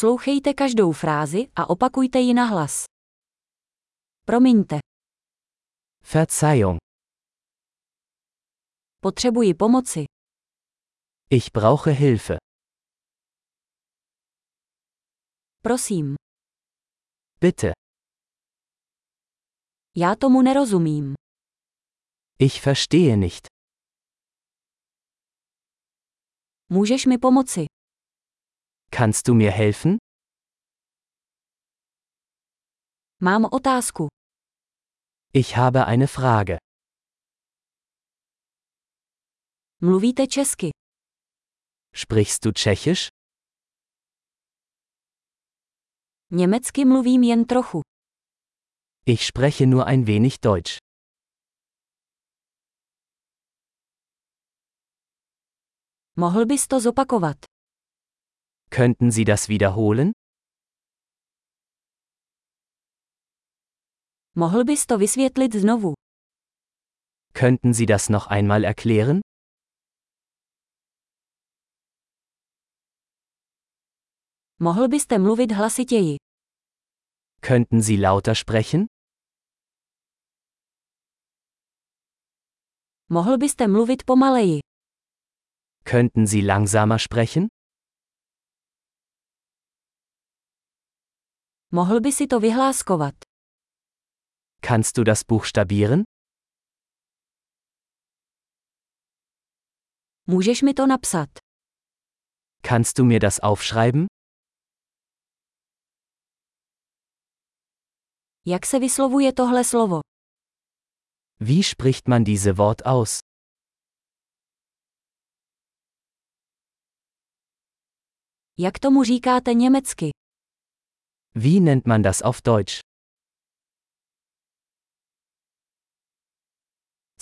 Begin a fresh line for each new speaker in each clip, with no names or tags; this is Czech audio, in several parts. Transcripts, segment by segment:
Poslouchejte každou frázi a opakujte ji na hlas. Promiňte,
Verzeihung,
potřebuji pomoci.
ich brauche Hilfe.
Prosím,
Bitte,
já tomu nerozumím.
ich verstehe nicht.
Můžeš mi pomoci?
Kannst du mir helfen?
Mám otázku.
Ich habe eine Frage.
Mluvíte česky?
Sprichst du Tschechisch?
Německy mluvím jen trochu.
Ich spreche nur ein wenig Deutsch.
Mohl bys to zopakovat?
Könnten Sie das wiederholen?
Mohl bys to vysvětlit znovu?
Könnten Sie das noch einmal erklären?
Mohl byste mluvit hlasitěji?
Könnten Sie lauter sprechen?
Mohl byste mluvit pomaleji?
Könnten Sie langsamer sprechen?
Mohl by si to vyhláskovat?
Kannst du das buchstabieren?
Můžeš mi to napsat?
Kannst du mir das aufschreiben?
Jak se vyslovuje tohle slovo?
Wie spricht man diese Wort aus?
Jak tomu říkáte německy?
Wie nennt man das auf Deutsch?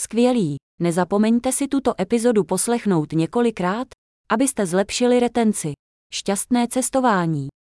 Skvělý. Nezapomeňte si tuto epizodu poslechnout několikrát, abyste zlepšili retenci. Šťastné cestování.